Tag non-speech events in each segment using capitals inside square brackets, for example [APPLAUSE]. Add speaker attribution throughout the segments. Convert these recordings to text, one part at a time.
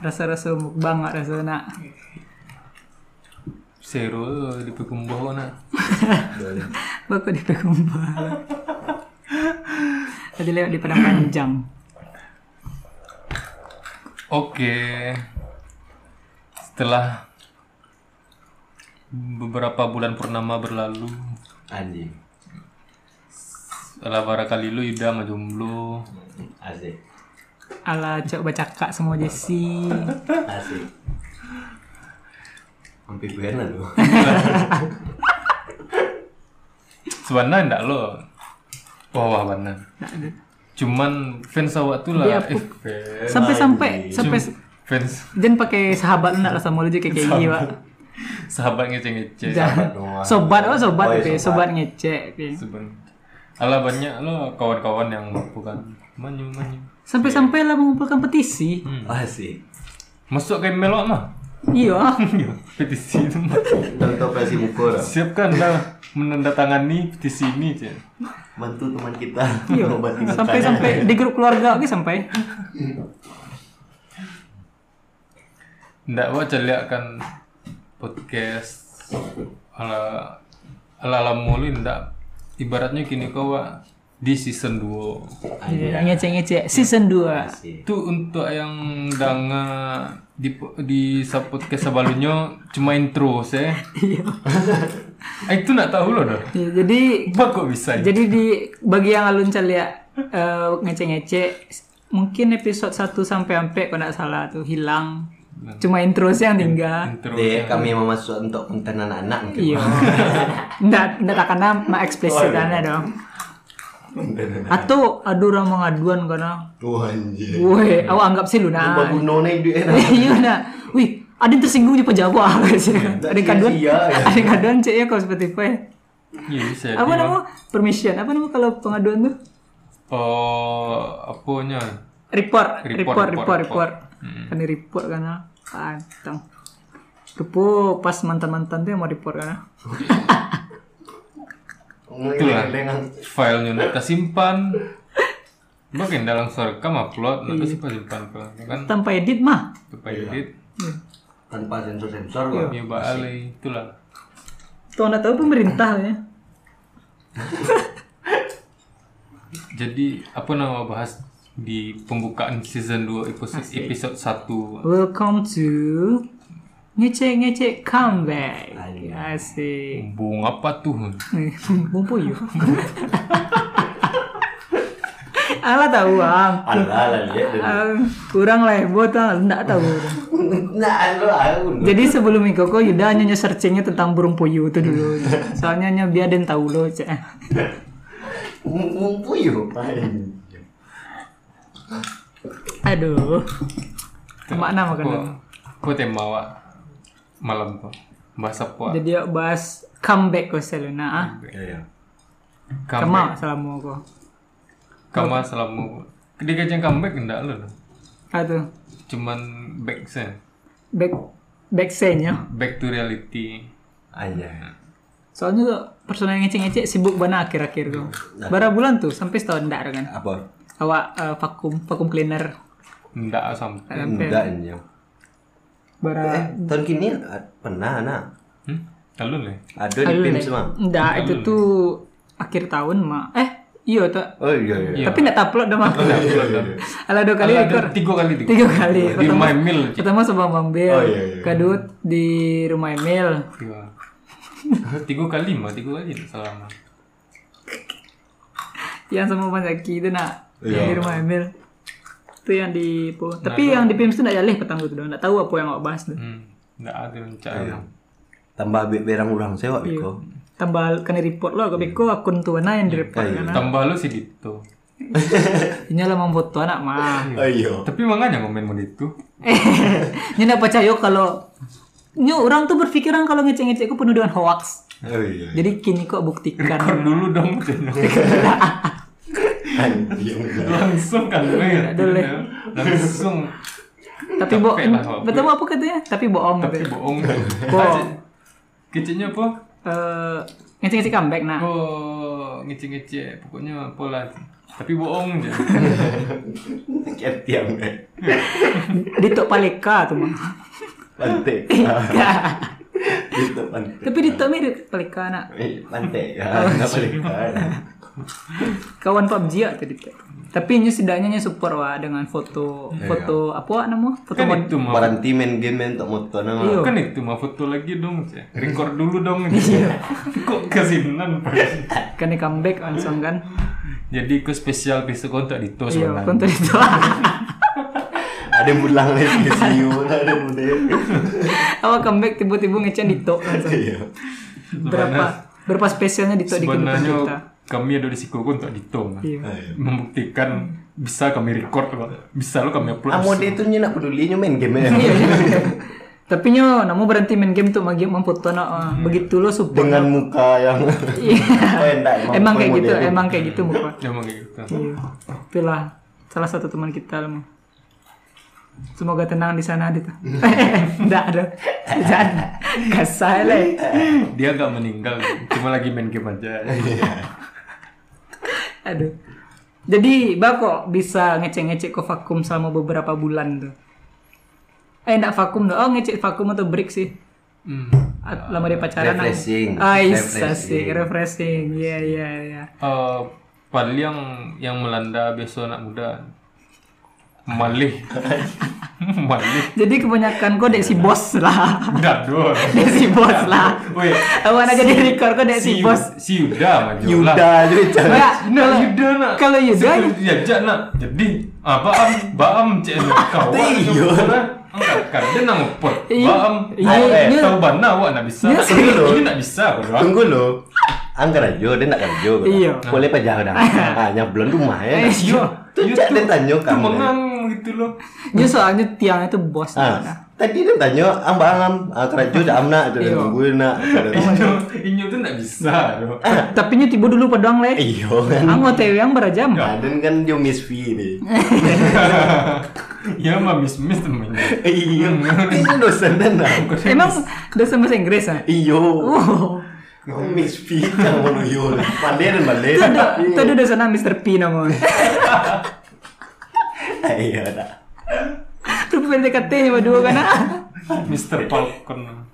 Speaker 1: rasa-rasa mukbang nggak rasa nak
Speaker 2: Seru di pekumbuh nak.
Speaker 1: baku di pekumbal ada lewat di padang panjang
Speaker 2: Oke. Setelah beberapa bulan purnama berlalu,
Speaker 3: anjing
Speaker 2: setelah barakalilu Ida sama jomblo.
Speaker 1: Hmm.
Speaker 3: asik
Speaker 1: ala coba cakak semua Jesse
Speaker 3: asik hampir benar lu
Speaker 2: Sebenarnya enggak lo. Wah, wah, benar.
Speaker 1: Nggak ada.
Speaker 2: Cuman fans awak tuh lah.
Speaker 1: Dia
Speaker 2: Eh,
Speaker 1: puk-
Speaker 2: fans.
Speaker 1: sampai-sampai sampai
Speaker 2: fans
Speaker 1: jangan pakai sahabat nak lah sama lu je kayak gini pak
Speaker 2: Iya, sahabat ngece-ngece.
Speaker 1: Jangan.
Speaker 3: doang.
Speaker 1: sobat oh sobat
Speaker 3: Oh, iya,
Speaker 1: oke,
Speaker 3: sobat.
Speaker 1: sobat ngecek oke.
Speaker 2: Seben. Alah banyak lo kawan-kawan yang bukan manyu manyu.
Speaker 1: sampai-sampai lah mengumpulkan petisi
Speaker 3: asik
Speaker 2: Masuk ke melok mah. [LAUGHS] Ya,
Speaker 1: iya
Speaker 2: petisi itu mah.
Speaker 3: tahu-tahu pasti buku lah
Speaker 2: Siapkan dah menandatangani petisi ini, Cek.
Speaker 3: bantu teman kita
Speaker 1: iya
Speaker 3: mengobati mukanya.
Speaker 1: sampai-sampai di grup keluarga oke sampai
Speaker 2: Ndak wa celiakan podcast ala ala ala mulu ndak ibaratnya kini kau wa di season 2
Speaker 1: Iya, ngecek-ngecek season 2
Speaker 3: asik
Speaker 2: itu untuk yang danga di di sa- podcast sebalunya cuma intro saya
Speaker 1: iya
Speaker 2: itu nak tahu lo dah
Speaker 1: Iya, jadi
Speaker 2: Bah, kok bisa
Speaker 1: Jadi di bagi yang alun celia eh, ngece-ngece mungkin episode 1 sampai sampai kalau nggak salah tuh hilang. Cuma intro sih yang tinggal.
Speaker 2: intro
Speaker 3: deh kami mau masuk untuk konten anak-anak mungkin.
Speaker 1: [LAUGHS] Iya. Nggak nggak takkan nama eksplisit aneh dong. Atau adu ramah ngaduan karena
Speaker 3: Tuh anjir.
Speaker 1: Woi, awak anggap sih Iya. lu
Speaker 3: Tambah
Speaker 1: nah.
Speaker 3: gunone duit enak.
Speaker 1: [LAUGHS] Iya nah. Wih, ada yang tersinggung di pejabat [LAUGHS] Ada yang kaduan.
Speaker 3: sia-sia, ya.
Speaker 1: Ada yang kaduan cek ya kalau Spotify.
Speaker 2: iya bisa
Speaker 1: Apa
Speaker 2: jadi.
Speaker 1: nama? Permission. Apa nama kalau pengaduan tuh?
Speaker 2: oh apanya
Speaker 1: report
Speaker 2: Report,
Speaker 1: report report
Speaker 2: report,
Speaker 1: report kan di report kan ah. pantang kepo pas mantan mantan tuh yang mau report kan ah.
Speaker 2: itulah
Speaker 3: Lengang.
Speaker 2: filenya nak kesimpan makin kan dalam suara rekam upload nak kesimpan simpan kan
Speaker 1: tanpa edit mah
Speaker 2: supaya edit
Speaker 3: Tanpa sensor-sensor
Speaker 1: Iya.
Speaker 3: kok.
Speaker 2: ya balik itulah
Speaker 1: tuh anda tahu pemerintah ya
Speaker 2: jadi apa nama bahas di pembukaan season 2 episode episode 1
Speaker 1: welcome to ngecek ngecek comeback
Speaker 3: Ayo.
Speaker 1: asik
Speaker 2: bung apa tuh
Speaker 1: bumbu yuk [LAUGHS] Alah tahu am,
Speaker 3: Alah lah lihat dulu.
Speaker 1: Am, kurang ya, lebo tau, nggak ah. tahu.
Speaker 3: Nah, lu aku.
Speaker 1: Jadi sebelum Mikoko Yuda hanya nyo searchingnya tentang burung puyuh itu dulu. Soalnya hanya biar den tahu lo cek.
Speaker 3: Mumpu yo.
Speaker 1: Iya. Aduh. kan? Makna makan dulu.
Speaker 2: Apa- apa tema awak malam tuh bahas apa
Speaker 1: Jadi yuk bahas comeback ko Selena ah.
Speaker 3: Iya.
Speaker 2: comeback
Speaker 1: Kama Ah, salamu ko.
Speaker 2: kama selama dia kajang comeback enggak lo
Speaker 1: Aduh.
Speaker 2: cuman back sen
Speaker 1: Back back scene yo.
Speaker 2: back to reality
Speaker 1: Iya.
Speaker 3: Aja.
Speaker 1: Soalnya tuh personal yang ngecek-ngecek sibuk banget akhir-akhir tuh. Berapa bulan tuh sampai setahun ndak kan.
Speaker 3: Apa?
Speaker 1: Awak eh, vakum vakum cleaner.
Speaker 2: enggak sampai
Speaker 3: Enggak anjing. Eh,
Speaker 1: Bara
Speaker 3: tahun kini ah, pernah anak.
Speaker 2: hmm? Lalu nih
Speaker 3: Ada di tim semua.
Speaker 1: Ndak itu tuh akhir tahun mah. Eh, iya tuh.
Speaker 3: Oh iya iya.
Speaker 1: Tapi ndak upload dah mah. Ala dua kali
Speaker 2: Ada
Speaker 1: ekor.
Speaker 2: tiga kali tiga,
Speaker 1: Tiga kali.
Speaker 2: di
Speaker 1: Pertama,
Speaker 2: my meal Cik.
Speaker 1: pertama sama Bang Bel.
Speaker 3: Oh, iya, iya.
Speaker 1: Kedua di rumah Emil.
Speaker 2: tiga [LAUGHS] tiga kali mah tiga kali tak salah mah
Speaker 1: Yang sama Bang Zaki itu nak
Speaker 3: Iya. Nah,
Speaker 1: yang di rumah Emil. Itu yang di po. Tapi yang di PIMS itu ndak jaleh petang itu. Ndak tahu apa yang awak bahas tuh.
Speaker 2: hmm. enggak ada rencana
Speaker 3: Tambah be- berang ulang sewa
Speaker 1: Iya.
Speaker 3: Biko.
Speaker 1: Tambah kena report lo, aku beko
Speaker 3: Iya.
Speaker 1: akun tuan nah yang di report kan.
Speaker 2: tambah lu sih gitu
Speaker 1: Ini lah memfoto anak mah.
Speaker 3: Ayo.
Speaker 2: tapi makanya komen mau itu
Speaker 1: [LAUGHS] Ini ndak percaya kalau Ini orang tuh berpikiran kalau ngecek-ngecek aku penuh dengan hoax.
Speaker 3: Oh iya.
Speaker 1: Jadi kini kok buktikan.
Speaker 2: record dulu dong [LAUGHS] Cik.
Speaker 3: Anjing.
Speaker 2: langsung kan
Speaker 1: Iya,
Speaker 2: lu ya
Speaker 1: boleh.
Speaker 2: langsung
Speaker 1: Tapi bohong.
Speaker 2: lah, Pak.
Speaker 1: Betul apa katanya? Tapi bohong.
Speaker 2: tapi
Speaker 1: gitu.
Speaker 2: bohong
Speaker 1: Bohong.
Speaker 2: kecilnya apa
Speaker 1: Eh, Ngecek-ngecek comeback nah. [LAUGHS]
Speaker 2: Oh, ngece-ngece. Pokoknya pola. Tapi bohong je.
Speaker 1: [LAUGHS]
Speaker 3: Kayak tiang eh.
Speaker 1: Ditok Paleka
Speaker 2: [LAUGHS]
Speaker 1: tuh mah.
Speaker 3: Pantai. Itu pantai.
Speaker 1: Tapi Ditok mirip Paleka nak.
Speaker 3: Eh, Pantai.
Speaker 1: Oh,
Speaker 3: Ah,
Speaker 1: iya.
Speaker 3: nggak boleh. Ah.
Speaker 1: Kawan PUBG ya tuh Ditok. Tapi ini setidaknya ini support wah dengan foto
Speaker 2: Ya,
Speaker 1: foto apa namanya? Foto
Speaker 2: Kan
Speaker 1: mod.
Speaker 2: itu mah.
Speaker 3: Paranti main game main tak motor nah. nama.
Speaker 1: Iya.
Speaker 2: Kan itu mah foto lagi dong,
Speaker 1: [LAUGHS]
Speaker 2: je. Record dulu dong. je.
Speaker 1: Iya.
Speaker 2: Kok kesinan, Pak?
Speaker 1: Kan dia comeback langsung kan.
Speaker 2: Jadi ke spesial besok kontak di tos
Speaker 1: Iya, konten itu. [LAUGHS]
Speaker 3: Ada mulang lagi ke siu, ada mudah.
Speaker 1: Awak comeback tiba-tiba ngecen Ditok langsung.
Speaker 3: Iya.
Speaker 1: Berapa berapa spesialnya Ditok di kehidupan
Speaker 2: Sebenarnya
Speaker 1: kita?
Speaker 2: kami ada di Siko kontak di tos.
Speaker 1: Iya.
Speaker 2: Membuktikan bisa kami record, Pak. bisa lo kami upload.
Speaker 3: Amo dia tu nya nak peduli nya main game ya.
Speaker 1: Iya, iya. [LAUGHS] Tapi nyo, namu berhenti main game tuh magi memfoto nak ah. begitu lo support.
Speaker 3: Hmm. [LAUGHS] Dengan muka yang [LAUGHS] Oh, enggak,
Speaker 1: Iya. [LAUGHS] emang kayak
Speaker 3: model
Speaker 1: gitu,
Speaker 3: dia.
Speaker 1: emang kayak gitu muka.
Speaker 2: Emang kayak gitu.
Speaker 1: Iya. Itulah salah satu teman kita lemu. Semoga tenang di sana Adit. [LAUGHS] Enggak ada. [LAUGHS] Jangan. Kasai lah.
Speaker 2: Dia agak meninggal, cuma lagi main game aja.
Speaker 1: Aduh. Jadi, Bako bisa ngecek-ngecek ke vakum selama beberapa bulan tuh. Eh, enggak vakum tuh. Oh, ngecek vakum atau break sih.
Speaker 2: Hmm.
Speaker 1: At- Lama dia pacaran. ah.
Speaker 3: Refreshing.
Speaker 1: Ah, iya,
Speaker 3: Refreshing.
Speaker 1: asik. Refreshing. Iya, iya, iya.
Speaker 2: Eh, paling yang yang melanda besok anak muda malih [LAUGHS] malih
Speaker 1: Jadi kebanyakan kok dek si bos lah. [LAUGHS]
Speaker 2: dado
Speaker 1: Dek si bos lah.
Speaker 2: Woi,
Speaker 1: Awan aja di record kok dek si bos.
Speaker 2: si Yuda maju
Speaker 3: Yuda jadi cara.
Speaker 1: Kayak
Speaker 2: Nak Yuda nak.
Speaker 1: kalau Yuda
Speaker 2: Sebelum dia ajak nak. Jadi ah baam baam cek nak kawan.
Speaker 3: Iya.
Speaker 2: lah? Angkat kan, dia nak ngepot.
Speaker 1: Iya.
Speaker 2: Baam.
Speaker 1: Iya,
Speaker 2: Eh,
Speaker 1: iya.
Speaker 2: tahu bana awak nak bisa.
Speaker 1: Iya,
Speaker 2: Ini
Speaker 3: serius.
Speaker 2: ini nak bisa aku doang.
Speaker 3: Tunggu lo. Angker aja, dia nak kerja. kan?
Speaker 1: Iya.
Speaker 3: Boleh pajak dah. Hanya belum rumah ya.
Speaker 2: Iya.
Speaker 3: Tu
Speaker 2: Iya,
Speaker 3: cak
Speaker 2: tu-
Speaker 3: dia tanya
Speaker 2: Tu
Speaker 3: kamu. ya.
Speaker 2: mengang gitu loh.
Speaker 1: dia soalnya tiangnya tuh bos Nah, lah.
Speaker 3: Ah, tadi dia tanya ambang am ah, kerja dah am nak tu
Speaker 1: Iya.
Speaker 3: nunggu nak.
Speaker 2: [LAUGHS] Inyo inyo tu nak bisa. doh.
Speaker 1: nah. Tapi nya tiba dulu padang le.
Speaker 3: Iyo kan.
Speaker 1: Anggo tewe yang berajam.
Speaker 3: Aden kan dia Miss V ni.
Speaker 2: Ya mah miss miss temennya.
Speaker 3: Iyo. Dia dosen dan nak.
Speaker 1: Emang udah sama bahasa Inggris ah.
Speaker 3: Iyo.
Speaker 1: Oh,
Speaker 3: Kau Miss V kan mau iyo. Pandai dan pandai.
Speaker 1: itu udah itu udah udah sana Mr. P [LAUGHS] namun.
Speaker 3: Ah, Iya dah.
Speaker 1: Tuh PDKT coba dua kan. ah.
Speaker 2: Mr. Falcon.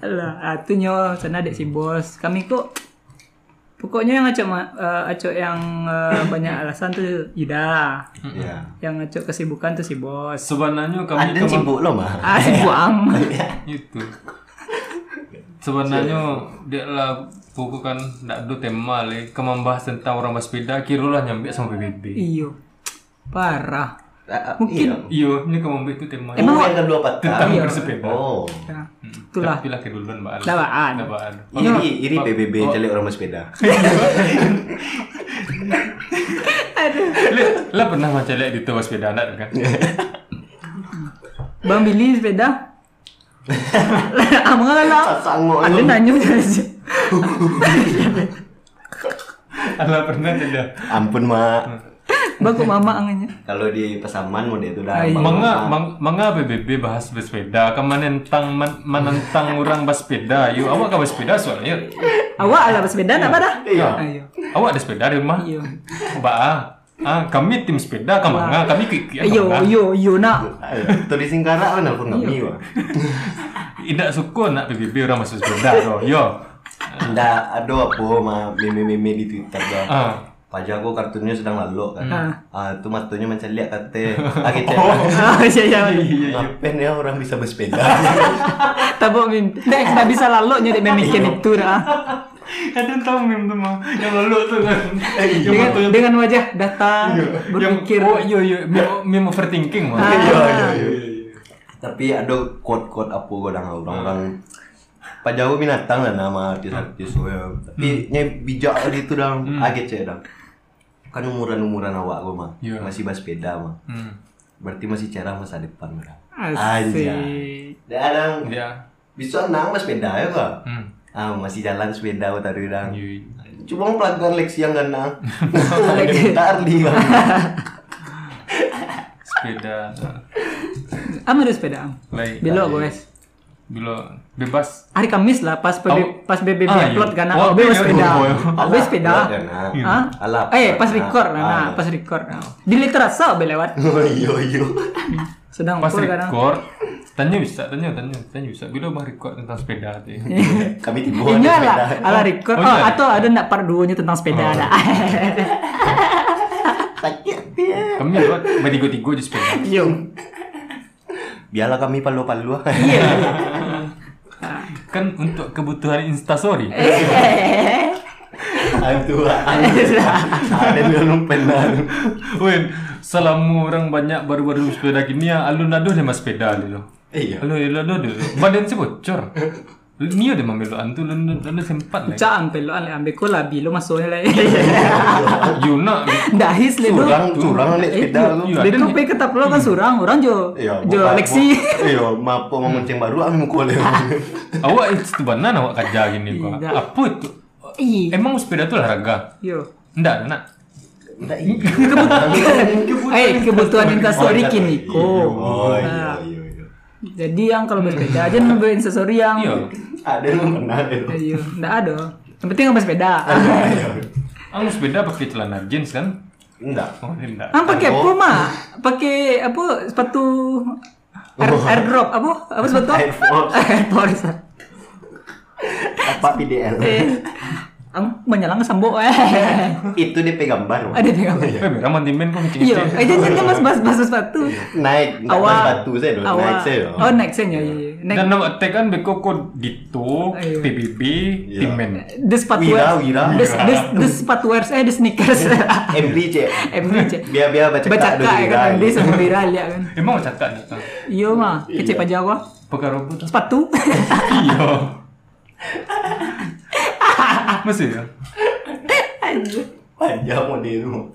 Speaker 1: Alah, itu nyo sana dek si bos. Kami kok pokoknya yang acok ma- eh, acok yang eh, banyak alasan tuh Yuda.
Speaker 3: Ya.
Speaker 1: Yang acok kesibukan tuh si bos.
Speaker 2: Sebenarnya kami
Speaker 3: Aden
Speaker 2: kemang-
Speaker 3: sibuk lo mah.
Speaker 1: Ah, si buang.
Speaker 2: itu sebenarnya dia lah buku kan tidak ada tema le kamu membahas tentang orang bersepeda kirulah nyampe sama PBB
Speaker 1: Iyo. Parah.
Speaker 3: Mungkin.
Speaker 2: iyo Iya, ini kamu ambil itu tema
Speaker 3: Emang yang kedua patah.
Speaker 2: tentang bersepeda
Speaker 3: Oh.
Speaker 1: Nah, itulah.
Speaker 2: itulah Hmm. tapi lah keduluan mbak Al Iya. Oh,
Speaker 1: Dah baan.
Speaker 2: Dah baan
Speaker 3: Iri, Iya, iri PBB calik orang bersepeda.
Speaker 2: [LAUGHS] le lah pernah macam le di tempat sepeda anak kan
Speaker 1: Bang Billy sepeda. Amang lah.
Speaker 3: Sangok
Speaker 1: Ada nanya aja.
Speaker 2: lah pernah cenda
Speaker 3: Ampun mak.
Speaker 1: Bang kok mama angannya.
Speaker 3: Kalau di Pasaman mau dia itu dah.
Speaker 1: Ah, iya.
Speaker 2: Mengapa mang- mengapa PBB bahas bersepeda kamu menentang men- menentang orang bersepeda yo awak kan bersepeda soalnya
Speaker 1: Awak ala bersepeda nak pada?
Speaker 3: Iya.
Speaker 1: Ayo.
Speaker 2: awak ada sepeda di rumah
Speaker 1: Iyo.
Speaker 2: Mbak ah. ah, kami tim sepeda kamanga, kami kiki
Speaker 1: Ayo, yo, yo nak.
Speaker 3: Ayo, Tu di Singkarak kan nelfon kami wah.
Speaker 2: Tidak suka nak PBB orang masuk sepeda doh. Yo.
Speaker 3: Ndak ada apa mah meme-meme di Twitter dah.
Speaker 2: Ah.
Speaker 3: Pajak aku kartunya sedang lalu kan.
Speaker 1: Ah.
Speaker 3: Ah, tu matanya macam lihat kata. Lagi cek.
Speaker 1: [LAUGHS] Ah, iya, iya.
Speaker 3: Ngapain ya orang bisa bersepeda?
Speaker 1: Tabok mimpi. Dek, tak bisa lalu nyari memikin itu dah.
Speaker 2: Ada tahu meme tu mah yang lalu tu kan. Yang
Speaker 1: Dengan,
Speaker 2: waktu yang-
Speaker 1: dengan wajah datang Eh, iya. berpikir. Ah.
Speaker 2: yang oh yo yo meme, meme overthinking mah.
Speaker 3: Iya, iya, iya. Tapi ada quote-quote apa kadang orang-orang Pak Jawa binatang lah nama artis-artis ya. Tapi nya bijak gitu dia tu dalam aget cek dah. Kan umuran-umuran awak gua mah.
Speaker 2: Ya.
Speaker 3: Masih bersepeda mah.
Speaker 2: Hmm.
Speaker 3: Berarti masih cara masa depan orang.
Speaker 1: Asik.
Speaker 3: Dah orang
Speaker 2: Ya.
Speaker 3: bisa nang mas sepeda ya kok.
Speaker 2: Hmm. Iya.
Speaker 3: Ah masih jalan sepeda kau tadi orang.
Speaker 2: Yo, yo.
Speaker 3: Cuma pelanggan Lexi yang
Speaker 1: [LAUGHS]
Speaker 3: ganang. Bentar di bang.
Speaker 2: Sepeda.
Speaker 1: Am ada sepeda am.
Speaker 2: Lain. Iya,
Speaker 1: Belok guys.
Speaker 2: Bila bebas.
Speaker 1: Hari Kamis lah pas
Speaker 2: Tahu-
Speaker 1: PB, pas BBB
Speaker 2: Ah,
Speaker 1: upload
Speaker 2: iya.
Speaker 1: kan
Speaker 2: Oh,
Speaker 1: aku bebas
Speaker 2: iya,
Speaker 1: sepeda.
Speaker 2: iya.
Speaker 1: Aku bebas sepeda. Hah?
Speaker 3: Alap.
Speaker 1: Eh, pas
Speaker 3: Nah,
Speaker 1: record lah, nah,
Speaker 3: ah.
Speaker 1: pas record. Nah. Di literasa be lewat.
Speaker 3: Yo yo.
Speaker 1: Sedang
Speaker 2: Pas
Speaker 1: full kan, kadang.
Speaker 2: record. Tanya bisa, tanya, tanya, tanya bisa. Bila bah record tentang sepeda
Speaker 1: [LAUGHS]
Speaker 2: tu.
Speaker 3: Kami tiba ada
Speaker 1: Ini
Speaker 3: sepeda.
Speaker 1: lah, ala Ya, record.
Speaker 2: Oh,
Speaker 1: Oh,
Speaker 2: iya. Oh.
Speaker 1: atau ada nak part 2 nya tentang sepeda [LAUGHS] ada.
Speaker 3: Sakit dia.
Speaker 2: Kami buat bertiga-tiga je sepeda.
Speaker 1: Yo.
Speaker 2: [LAUGHS]
Speaker 3: Biarlah kami palu-palu.
Speaker 1: Iya.
Speaker 2: Kan untuk kebutuhan instastory.
Speaker 1: Iya.
Speaker 3: Aduh. Ada belum penan.
Speaker 2: [LAUGHS] Wen, selama orang banyak baru-baru sepeda kini ya, alun aduh dia mas sepeda dulu.
Speaker 1: Ya.
Speaker 3: Iya.
Speaker 2: Alun alun aduh dulu. Badan si bocor. Ni ada mamelo antu lun lun sempat lah.
Speaker 1: Cak ampe lo ale ambe ko labi lo masuknya
Speaker 3: [LAUGHS]
Speaker 1: lah.
Speaker 3: Iya.
Speaker 2: You nak
Speaker 1: Dahis le lo.
Speaker 3: Curang, curang naik sepeda tu.
Speaker 2: Iya,
Speaker 1: Dia
Speaker 2: ada
Speaker 1: tu
Speaker 2: ni.
Speaker 1: pe ketap lo kan surang, orang jo.
Speaker 3: Iya,
Speaker 1: Jo
Speaker 3: bukan-
Speaker 1: Lexi. [LAUGHS]
Speaker 3: bu- Iya, mapo mau menceng baru anu aku mukul dia.
Speaker 2: awak itu banan awak kerja gini kok.
Speaker 1: Tidak.
Speaker 2: Apa itu?
Speaker 1: Ih.
Speaker 2: Emang sepeda tu olahraga?
Speaker 1: Oh, iya. Yo.
Speaker 2: Ndak nak.
Speaker 3: Tak iya.
Speaker 1: Eh, kebutuhan instastory kini Ah. ko.
Speaker 3: Oh, iya, iya, iya.
Speaker 1: Jadi yang kalau bersepeda aja nambah instastory yang.
Speaker 2: Iya.
Speaker 3: Ada belum pernah Iya, itu.
Speaker 1: Ayo, enggak ada. Yang penting nggak sepeda.
Speaker 2: Ang sepeda pakai celana jeans kan?
Speaker 3: Enggak.
Speaker 2: Oh, ndak.
Speaker 1: Ang pakai
Speaker 3: Ano?
Speaker 1: apa, Mak? Pakai apa? Sepatu air, airdrop apa? Apa sepatu?
Speaker 3: Oh. Air Force.
Speaker 1: [LAUGHS] Air Force.
Speaker 3: Apa PDL?
Speaker 1: Eh. Ang menyalang sambok eh.
Speaker 3: [LAUGHS] Itu DP gambar. Bang.
Speaker 1: Ada tengok.
Speaker 2: Eh, merah mantimen kau macam
Speaker 1: Iya,
Speaker 2: itu.
Speaker 1: eh jangan jangan mas mas mas sepatu.
Speaker 3: Naik, enggak
Speaker 1: Awal
Speaker 3: naik batu saya dulu.
Speaker 1: awal-
Speaker 3: Naik saya.
Speaker 1: Oh, naik saya ya. iya. Naik
Speaker 2: Dan nama tag kan beko kau dito,
Speaker 1: Ayo.
Speaker 2: PBB,
Speaker 3: Iya.
Speaker 2: timen.
Speaker 1: the sepatu wears.
Speaker 3: Wira, wira.
Speaker 1: The, the, the sepatu wears eh the sneakers. [LAUGHS]
Speaker 3: MBJ.
Speaker 1: MBJ.
Speaker 3: Biar-biar baca
Speaker 1: Baca
Speaker 3: dulu
Speaker 1: kak
Speaker 3: viral.
Speaker 1: kan MBJ sama
Speaker 3: [LAUGHS]
Speaker 1: viral ya kan.
Speaker 2: Emang cakap ni.
Speaker 1: Iya mah, kecil aja gua.
Speaker 2: Pakai robot.
Speaker 1: Sepatu. [LAUGHS]
Speaker 2: Iya. Masih ya?
Speaker 3: Panjang mau di rumah.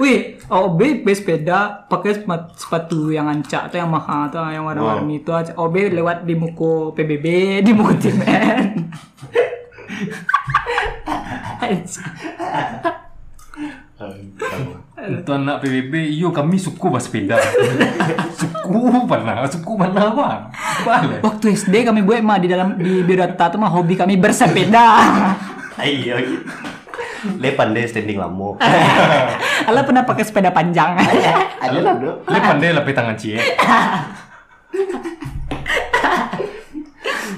Speaker 1: Wih, OB sepeda pakai sepa- sepatu yang ancak atau yang mahal atau yang warna-warni itu aja. OB lewat di muku PBB, di muku
Speaker 3: [LAUGHS]
Speaker 1: [LAUGHS] Timen. Ancak.
Speaker 2: Untuk anak PBB, yo kami suku bahasa sepeda. suku mana? Suku mana apa? Balik.
Speaker 1: Waktu SD kami buat mah di dalam di Birata itu mah hobi kami bersepeda.
Speaker 3: Ayo. Le pandai standing
Speaker 1: [LAUGHS]
Speaker 3: lama.
Speaker 1: Ala pernah pakai sepeda panjang.
Speaker 3: Ada lah bro.
Speaker 2: Dia pandai lah eh. pakai tangan cie.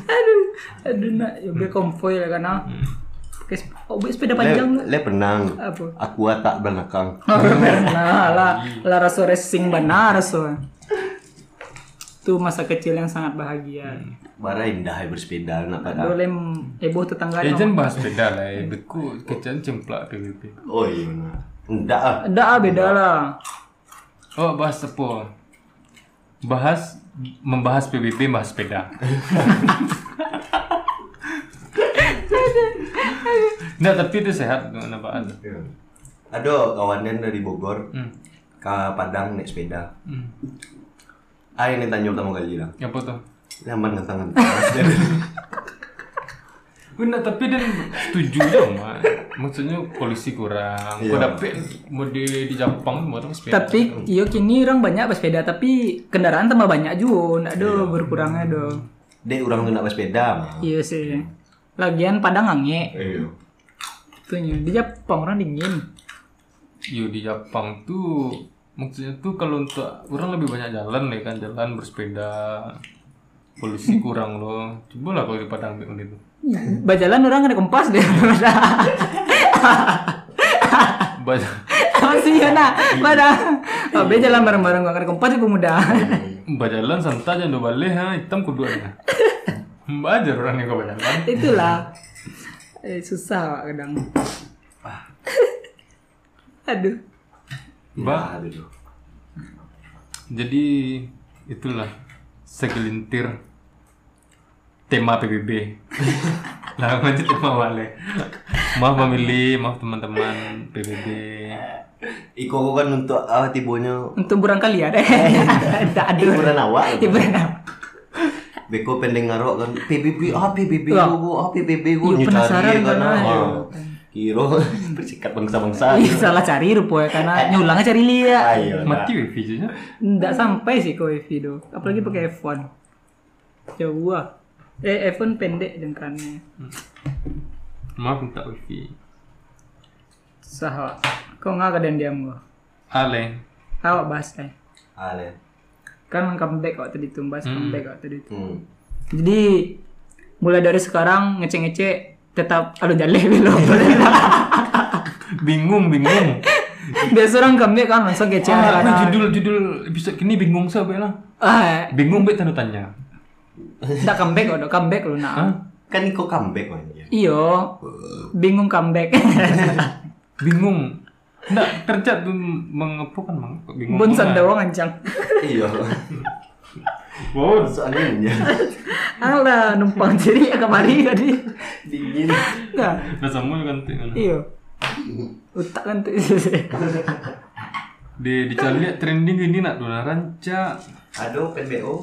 Speaker 1: Aduh, aduh nak ya be konvoy lah kana. Pakai sep- OB sepeda panjang.
Speaker 3: Le, le penang.
Speaker 1: Apa? Oh.
Speaker 3: Aku lah tak belakang.
Speaker 1: Nah, lah, lah rasa racing benar rasa. Itu masa kecil yang sangat bahagia.
Speaker 3: Hmm. Bara indah ya bersepeda nak pada.
Speaker 1: Boleh heboh tetangga. no.
Speaker 2: Ya jangan bahas sepeda lah. eh. Beku kecil cemplak PBB.
Speaker 3: Oh iya nah. Enggak ah.
Speaker 1: Ada ah, beda lah.
Speaker 2: Oh bahas apa? Bahas membahas PBB bahas sepeda. Nah tapi itu sehat nampak.
Speaker 3: Ada kawanan dari Bogor ke Padang naik sepeda.
Speaker 2: Hmm.
Speaker 3: Ah ini tanya pertama kali lah.
Speaker 2: Apa tuh?
Speaker 3: Lamban tangan.
Speaker 1: [LAUGHS]
Speaker 2: Benar tapi dia setuju je mak. Maksudnya polisi kurang. Kau
Speaker 3: Ya.
Speaker 2: dapat mode di Jepang mau tu sepeda.
Speaker 1: Tapi yo kini orang banyak bersepeda tapi kendaraan tambah banyak juga. Ndak ada berkurangnya do.
Speaker 3: Dek orang tu nak bersepeda mah.
Speaker 1: Iya sih. Lagian Padang angin.
Speaker 3: Iya.
Speaker 1: Tuhnya di Jepang orang dingin.
Speaker 2: yo di Jepang tu maksudnya tu kalau untuk orang lebih banyak jalan deh kan jalan bersepeda. Polisi kurang loh. Coba lah kalau di Padang ambil benda tu.
Speaker 1: Bajalan orang ada kompas [LAUGHS] deh.
Speaker 2: Banyak
Speaker 1: Masih ya nak. Padang. OB Oh, jalan bareng-bareng gua ada kompas di pemuda.
Speaker 2: Bajalan santai jangan balik ha hitam kedua ni. Bajar orang ni kau bajalan.
Speaker 1: Itulah. Eh, susah Pak, kadang. Aduh.
Speaker 2: Ba
Speaker 3: Bah, aduh.
Speaker 2: Jadi itulah segelintir tema PBB. Lah Nah, lanjut tema wale. Maaf memilih, maaf teman-teman PBB.
Speaker 3: Iko kau kan untuk ah tibonya
Speaker 1: Untuk berangkali ya deh. Tak ada.
Speaker 3: hiburan awak.
Speaker 1: Hiburan apa?
Speaker 3: Beko pendek ngarok kan PBB ah PBB
Speaker 1: Lah.
Speaker 3: gua ah PBB
Speaker 1: Iya,
Speaker 3: gua Ni
Speaker 1: penasaran
Speaker 3: cari kan
Speaker 1: kan,
Speaker 3: ah.
Speaker 1: ayo.
Speaker 3: [LAUGHS] Kiro bersikat bangsa-bangsa.
Speaker 1: Ih, salah cari rupanya karena nyulangnya cari lia.
Speaker 3: Ayo.
Speaker 2: Mati weh videonya.
Speaker 1: Nggak sampai sih kau Evi do. Apalagi pakai F1. Jauh ah. Eh, iPhone pendek jengkrannya.
Speaker 2: Maaf minta wifi.
Speaker 1: Sahwa. Kau nggak kadang diam gua.
Speaker 2: Ale.
Speaker 1: Awak bahas eh.
Speaker 3: Ale.
Speaker 1: Kan comeback waktu ditumbas, comeback waktu itu.
Speaker 3: Hmm.
Speaker 1: Jadi mulai dari sekarang ngecek-ngecek tetap aduh jaleh [LAUGHS] belum.
Speaker 2: Bingung, bingung.
Speaker 1: Biasa orang comeback kan langsung kece.
Speaker 2: Ah,
Speaker 1: karena-
Speaker 2: judul judul episode kini bingung sah be lah.
Speaker 1: Ah,
Speaker 2: Bingung be tanda tanya.
Speaker 1: tak comeback udah comeback lu nak.
Speaker 2: Hah?
Speaker 3: Kan kau comeback man. ya.
Speaker 1: Iyo, bingung comeback.
Speaker 2: Bingung. Nggak tercat tuh mengepukan mang. Kok Bingung.
Speaker 1: Bun
Speaker 2: banget?
Speaker 1: sandawa ngancang.
Speaker 3: Iya.
Speaker 2: Wow.
Speaker 3: Soalnya ya.
Speaker 1: Alah numpang jadi [LAUGHS] ya kemari tadi.
Speaker 3: dingin.
Speaker 1: Nah,
Speaker 2: Rasamu kan tuh. kan.
Speaker 1: iyo. Utak kan tuh.
Speaker 2: Di dicari lihat trending ini nak dona ranca.
Speaker 3: Aduh, oh. PBO.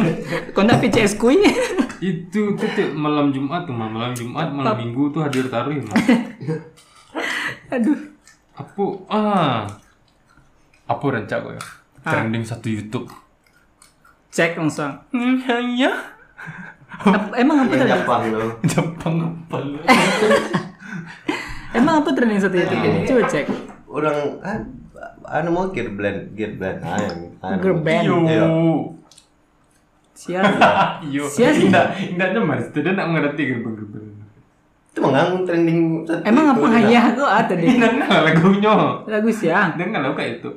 Speaker 1: [LAUGHS] Kau nak PCS kui?
Speaker 2: Itu itu tuh malam Jumat tuh Mang. malam Jumat malam Minggu tuh hadir taruh.
Speaker 1: [LAUGHS]
Speaker 2: Mang.
Speaker 1: [LAUGHS] Aduh.
Speaker 2: Apa? Ah. Apa rancak kau ya?
Speaker 1: Ah.
Speaker 2: Trending satu YouTube.
Speaker 1: Cek langsung.
Speaker 2: Hmm, ya.
Speaker 1: Ap- emang apa tadi?
Speaker 3: Jepang lo.
Speaker 2: Jepang apa lu?
Speaker 1: Eh. Emang apa trending satu itu? Coba cek.
Speaker 3: Orang kan anu mau gear blend, gear blend ah yang anu.
Speaker 1: Girl band.
Speaker 2: Yo.
Speaker 3: Iya.
Speaker 1: Siapa?
Speaker 2: Yo.
Speaker 1: Sia sih.
Speaker 2: Indah, indahnya mas. Tidak nak ngerti gerbang-gerbang.
Speaker 3: Itu mengang trending satu
Speaker 1: Emang
Speaker 3: itu,
Speaker 1: apa
Speaker 3: ya.
Speaker 1: hanya aku ada deh?
Speaker 2: Indah nak lagunya.
Speaker 1: Lagu siang.
Speaker 2: Dengar lah kayak itu.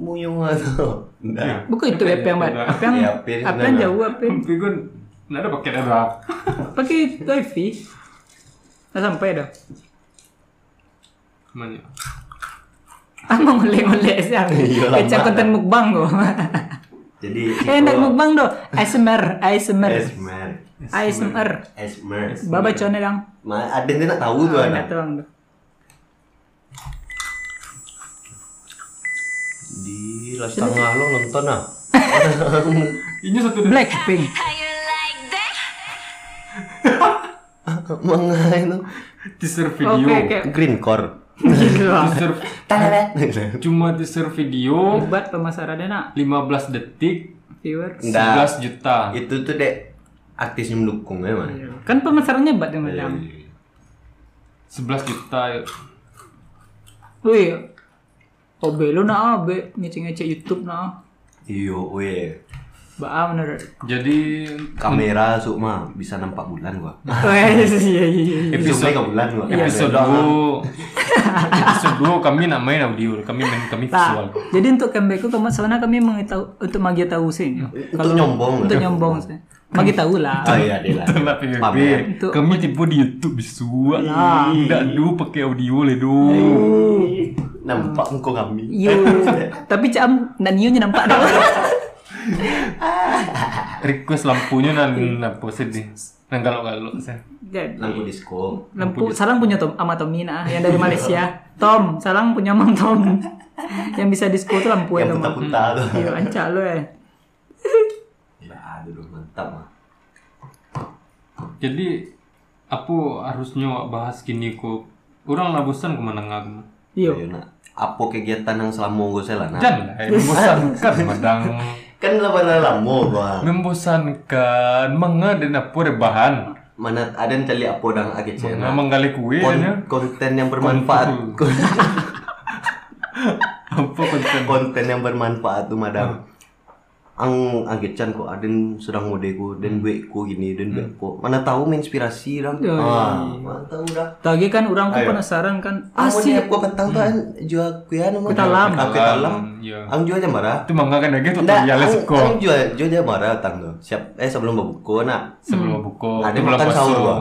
Speaker 3: Muyung atau. Nah.
Speaker 1: Buku itu apa yang
Speaker 2: Iya.
Speaker 1: apa yang
Speaker 3: Iya,
Speaker 1: apa
Speaker 3: pin,
Speaker 1: yang
Speaker 3: benar.
Speaker 1: jauh apa? yang-
Speaker 2: Tapi gue nggak ada paket ada.
Speaker 1: Pakai wifi. Nggak sampai dah.
Speaker 2: Mana?
Speaker 1: Ah mau ngolek-ngolek siang.
Speaker 3: Iya, lama. Gitu
Speaker 1: Kecak konten mukbang kok.
Speaker 3: Jadi
Speaker 1: Eh nak mukbang doh. ASMR, ASMR,
Speaker 3: Esmer.
Speaker 1: ASMR.
Speaker 3: Esmer.
Speaker 1: Baba cone dang.
Speaker 3: Ma, ada yang nak tahu tuh
Speaker 1: Ah,
Speaker 3: anak.
Speaker 1: nak tuang doh.
Speaker 3: Di lah setengah lo nonton [LAUGHS] ah.
Speaker 2: Ini satu dari
Speaker 1: Blackpink.
Speaker 3: Mengai lo.
Speaker 2: teaser
Speaker 1: Oke,
Speaker 2: video.
Speaker 1: oke.
Speaker 3: Green core.
Speaker 1: Gitu lah.
Speaker 2: Teaser cuma teaser video
Speaker 1: Obat pemasarannya nak
Speaker 2: 15 detik
Speaker 1: viewers.
Speaker 3: Nggak.
Speaker 2: 11 juta.
Speaker 3: [LAUGHS] Itu tuh dek artisnya mendukung ya man.
Speaker 1: Kan pemasarannya obat yang
Speaker 3: Iya.
Speaker 1: macam.
Speaker 2: 11 juta. yuk.
Speaker 1: Wih, OB lu nah, OB ngecek-ngecek YouTube nah.
Speaker 3: Iyo, Iya, weh.
Speaker 1: Ba
Speaker 3: [LAUGHS]
Speaker 1: menurut.
Speaker 2: Jadi
Speaker 3: Kamera Sukma bisa nampak bulan gua.
Speaker 1: Wes, iya iya iya.
Speaker 3: Sukma
Speaker 2: episode
Speaker 3: ke bulan gua.
Speaker 2: episode
Speaker 3: Iya.
Speaker 2: dua episode dua kami nak main audio kami main kami
Speaker 1: Nah,
Speaker 2: visual
Speaker 1: jadi untuk comeback itu kemana kami mengetahu untuk magi tahu sih. ini.
Speaker 3: Iya. Untuk nyombong.
Speaker 1: Untuk nyombong sih. Magi tahu lah.
Speaker 3: Oh iya deh lah.
Speaker 2: Telah PBB
Speaker 3: ya?
Speaker 1: Untuk-
Speaker 2: Kami tipu di Youtube Bisu Tidak du pakai audio le du
Speaker 3: Nampak muka kami. [LAUGHS]
Speaker 1: Yo, Iya. tapi cam dan Nio nampak dah.
Speaker 2: Request lampunya nan lampu sedih Nan galak-galak saya
Speaker 1: Dan
Speaker 3: Lampu disco.
Speaker 1: Lempu, salam Kan? punya Tom sama Tommy nah, yang dari
Speaker 3: [LAUGHS]
Speaker 1: Malaysia. Tom, salam punya Mang Tom. yang bisa disco tuh lampu ya
Speaker 3: Yang
Speaker 1: Tom.
Speaker 3: puta-puta tuh.
Speaker 1: Iya, ancak lu eh.
Speaker 3: Ya, aduh mantap mah.
Speaker 2: Jadi Apa harusnya wak bahas kini ku Orang lah bosan kemana ngak
Speaker 1: Yo,
Speaker 3: Ayo nak. Apa kegiatan yang selama gua saya lah nak?
Speaker 2: Jangan lah Membosankan madang
Speaker 3: Kan lebaran lama gua.
Speaker 2: Membosankan Manga dan apa rebahan
Speaker 3: Mana ada yang cari apa dang age cek
Speaker 2: Manga
Speaker 3: nak.
Speaker 2: menggali kue ya.
Speaker 3: Kon- konten yang bermanfaat.
Speaker 2: Apa konten
Speaker 3: konten yang bermanfaat tuh madam ang agecan kok aden sedang mode ku dan duit ku gini dan duit ku mana tahu menginspirasi dam
Speaker 1: Ya,
Speaker 3: ah mana tahu dah
Speaker 1: tadi kan orang ku penasaran kan
Speaker 3: Asli
Speaker 1: asik
Speaker 3: aku petang tuh an jual anu, kuian mau
Speaker 1: talam.
Speaker 3: aku Ah, talam
Speaker 2: Iya.
Speaker 3: ang jual jamara
Speaker 2: Ya. Itu manga kan lagi tuh
Speaker 3: Nggak,
Speaker 2: terbiasa
Speaker 3: ang-
Speaker 2: sekolah
Speaker 3: ang jual jual jamara tang tuh siap eh sebelum berbuka nak
Speaker 2: sebelum buka
Speaker 3: Ada
Speaker 2: itu bulan
Speaker 3: makan
Speaker 2: puasa.
Speaker 3: sahur, Bang.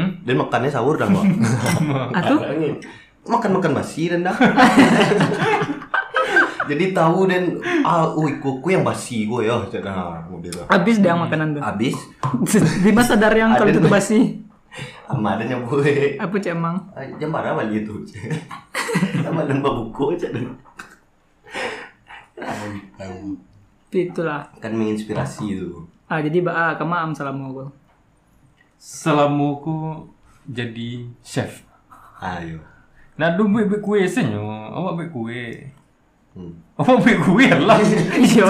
Speaker 2: hmm?
Speaker 3: dan makannya sahur dah kok
Speaker 1: Atuh
Speaker 3: makan makan basi dan dah jadi tahu dan ah ui ku ku yang basi gua ya cak dah model lah.
Speaker 1: habis dia makanan
Speaker 3: [LAUGHS]
Speaker 1: tuh.
Speaker 3: habis
Speaker 1: Dimas sadar yang kalau
Speaker 3: Ada
Speaker 1: itu
Speaker 3: tuh.
Speaker 1: basi.
Speaker 3: ama ada nyambut
Speaker 1: Apa cek emang?
Speaker 3: Ah, Jam berapa balik [LAUGHS] itu? Jam malam buku aja dong.
Speaker 1: Itulah.
Speaker 3: Kan menginspirasi itu.
Speaker 1: Ah jadi ba ah, kama am salam aku.
Speaker 2: selama aku jadi chef
Speaker 3: Ayo.
Speaker 2: nah dulu bebek kue senyo awak bebek kue
Speaker 3: Hmm.
Speaker 2: awak bebek kue lah
Speaker 1: [LAUGHS] Iya,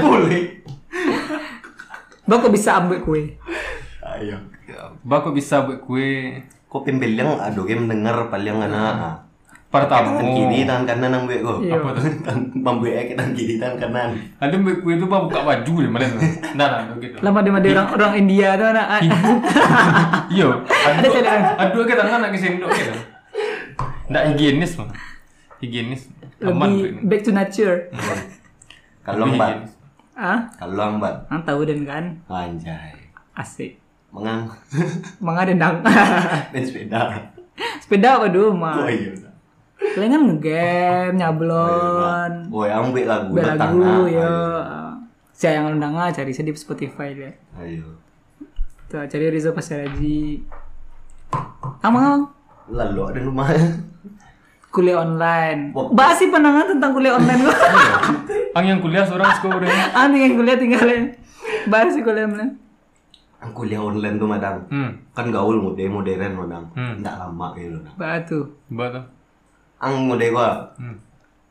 Speaker 3: Boleh.
Speaker 1: Bapak bisa ambil kue.
Speaker 3: iya.
Speaker 2: Baku bisa buat kue
Speaker 3: Kok pembelian aduh game dengar paling ngana. Tangan
Speaker 2: pertama.
Speaker 3: kiri tangan kanan nang buat kok.
Speaker 1: Iya.
Speaker 2: Hmm. Oh. Apa tuh?
Speaker 3: Bang buat [LAUGHS] tangan kiri tangan kanan.
Speaker 2: Ada buat kue itu buka baju deh mana? Nah, nah, gitu.
Speaker 1: Lama di mana orang orang India tuh anak. [LAUGHS]
Speaker 2: Iya.
Speaker 1: Ada celaan.
Speaker 2: Aduh, kita tangan nak kesendok gitu. Nggak higienis mah. Higienis. Aman
Speaker 1: Lebih
Speaker 2: kue ini. Hmm.
Speaker 1: back to nature.
Speaker 3: Kalau
Speaker 2: Lebih gitu.
Speaker 3: empat,
Speaker 2: higienis.
Speaker 1: Ah,
Speaker 3: kalau empat,
Speaker 1: ang tahu dan kan
Speaker 3: anjay.
Speaker 1: asik.
Speaker 3: Mengang [LAUGHS]
Speaker 1: Mengadendang.
Speaker 3: dan
Speaker 2: Ah.
Speaker 3: sepeda.
Speaker 1: [LAUGHS] Sepeda apa dulu mah?
Speaker 3: Oh iya.
Speaker 1: Palingan ngegame, nyablon,
Speaker 3: Woi, ambil lagu
Speaker 1: bel
Speaker 3: datang ah.
Speaker 1: lagu
Speaker 2: iya.
Speaker 1: ya. Saya yang undang ah, cari saya di Spotify deh.
Speaker 3: Ayo.
Speaker 1: Tuh, cari Rizal Pasaraji. Amang, amang.
Speaker 3: Lalu ada rumah. [LAUGHS]
Speaker 1: Kuliah online.
Speaker 3: Wah.
Speaker 1: Bahas sih pandangan tentang kuliah online
Speaker 3: [LAUGHS]
Speaker 1: gua.
Speaker 2: Ang yang kuliah seorang
Speaker 3: Iya.
Speaker 1: [LAUGHS]
Speaker 2: sekolah.
Speaker 1: Anu yang kuliah tinggalin. Bahas sih kuliah online.
Speaker 3: Aku kuliah online tuh madang.
Speaker 2: Hmm.
Speaker 3: Kan gaul mode modern madang.
Speaker 2: Hmm.
Speaker 3: Enggak lama gitu. Madang.
Speaker 1: Batu.
Speaker 2: Betul.
Speaker 3: Ang mode gua.
Speaker 2: Hmm.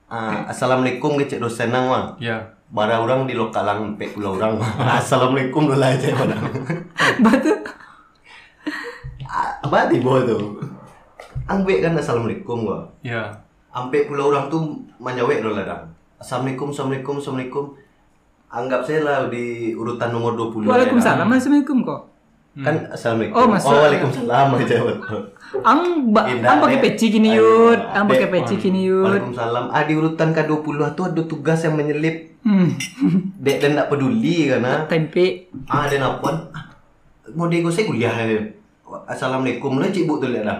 Speaker 3: Ah, assalamualaikum ke cek dosen nang mah.
Speaker 2: Ya.
Speaker 3: Bara orang di lokalang pe pula orang. [LAUGHS] assalamualaikum dulu aja padang.
Speaker 1: Batu.
Speaker 3: Ah, [LAUGHS] Apa tiba tu? Ang be kan assalamualaikum gua.
Speaker 2: Ya.
Speaker 3: Ampe pula orang tu manjawek dulu ladang. Assalamualaikum, assalamualaikum, assalamualaikum. Anggap saya lah di urutan nomor 20.
Speaker 1: Waalaikumsalam. Assalamualaikum kok.
Speaker 3: Kan assalamualaikum.
Speaker 1: Oh, masuk.
Speaker 3: waalaikumsalam [LAUGHS] aja. betul.
Speaker 1: Ang ba-
Speaker 3: Indah,
Speaker 1: ang pakai
Speaker 3: Iya, Dek.
Speaker 1: peci kini yud.
Speaker 3: Ayo, Iya.
Speaker 1: Ang pakai
Speaker 3: Dek.
Speaker 1: peci kini yud.
Speaker 3: Waalaikumsalam. Ah di urutan ke-20 tu ada tugas yang menyelip.
Speaker 1: Hmm.
Speaker 3: Dek dan tak peduli kan ah.
Speaker 1: Tempe.
Speaker 3: Ah dan apa? Model kau saya kuliah. eh. Assalamualaikum lah cikgu tu lihat dah.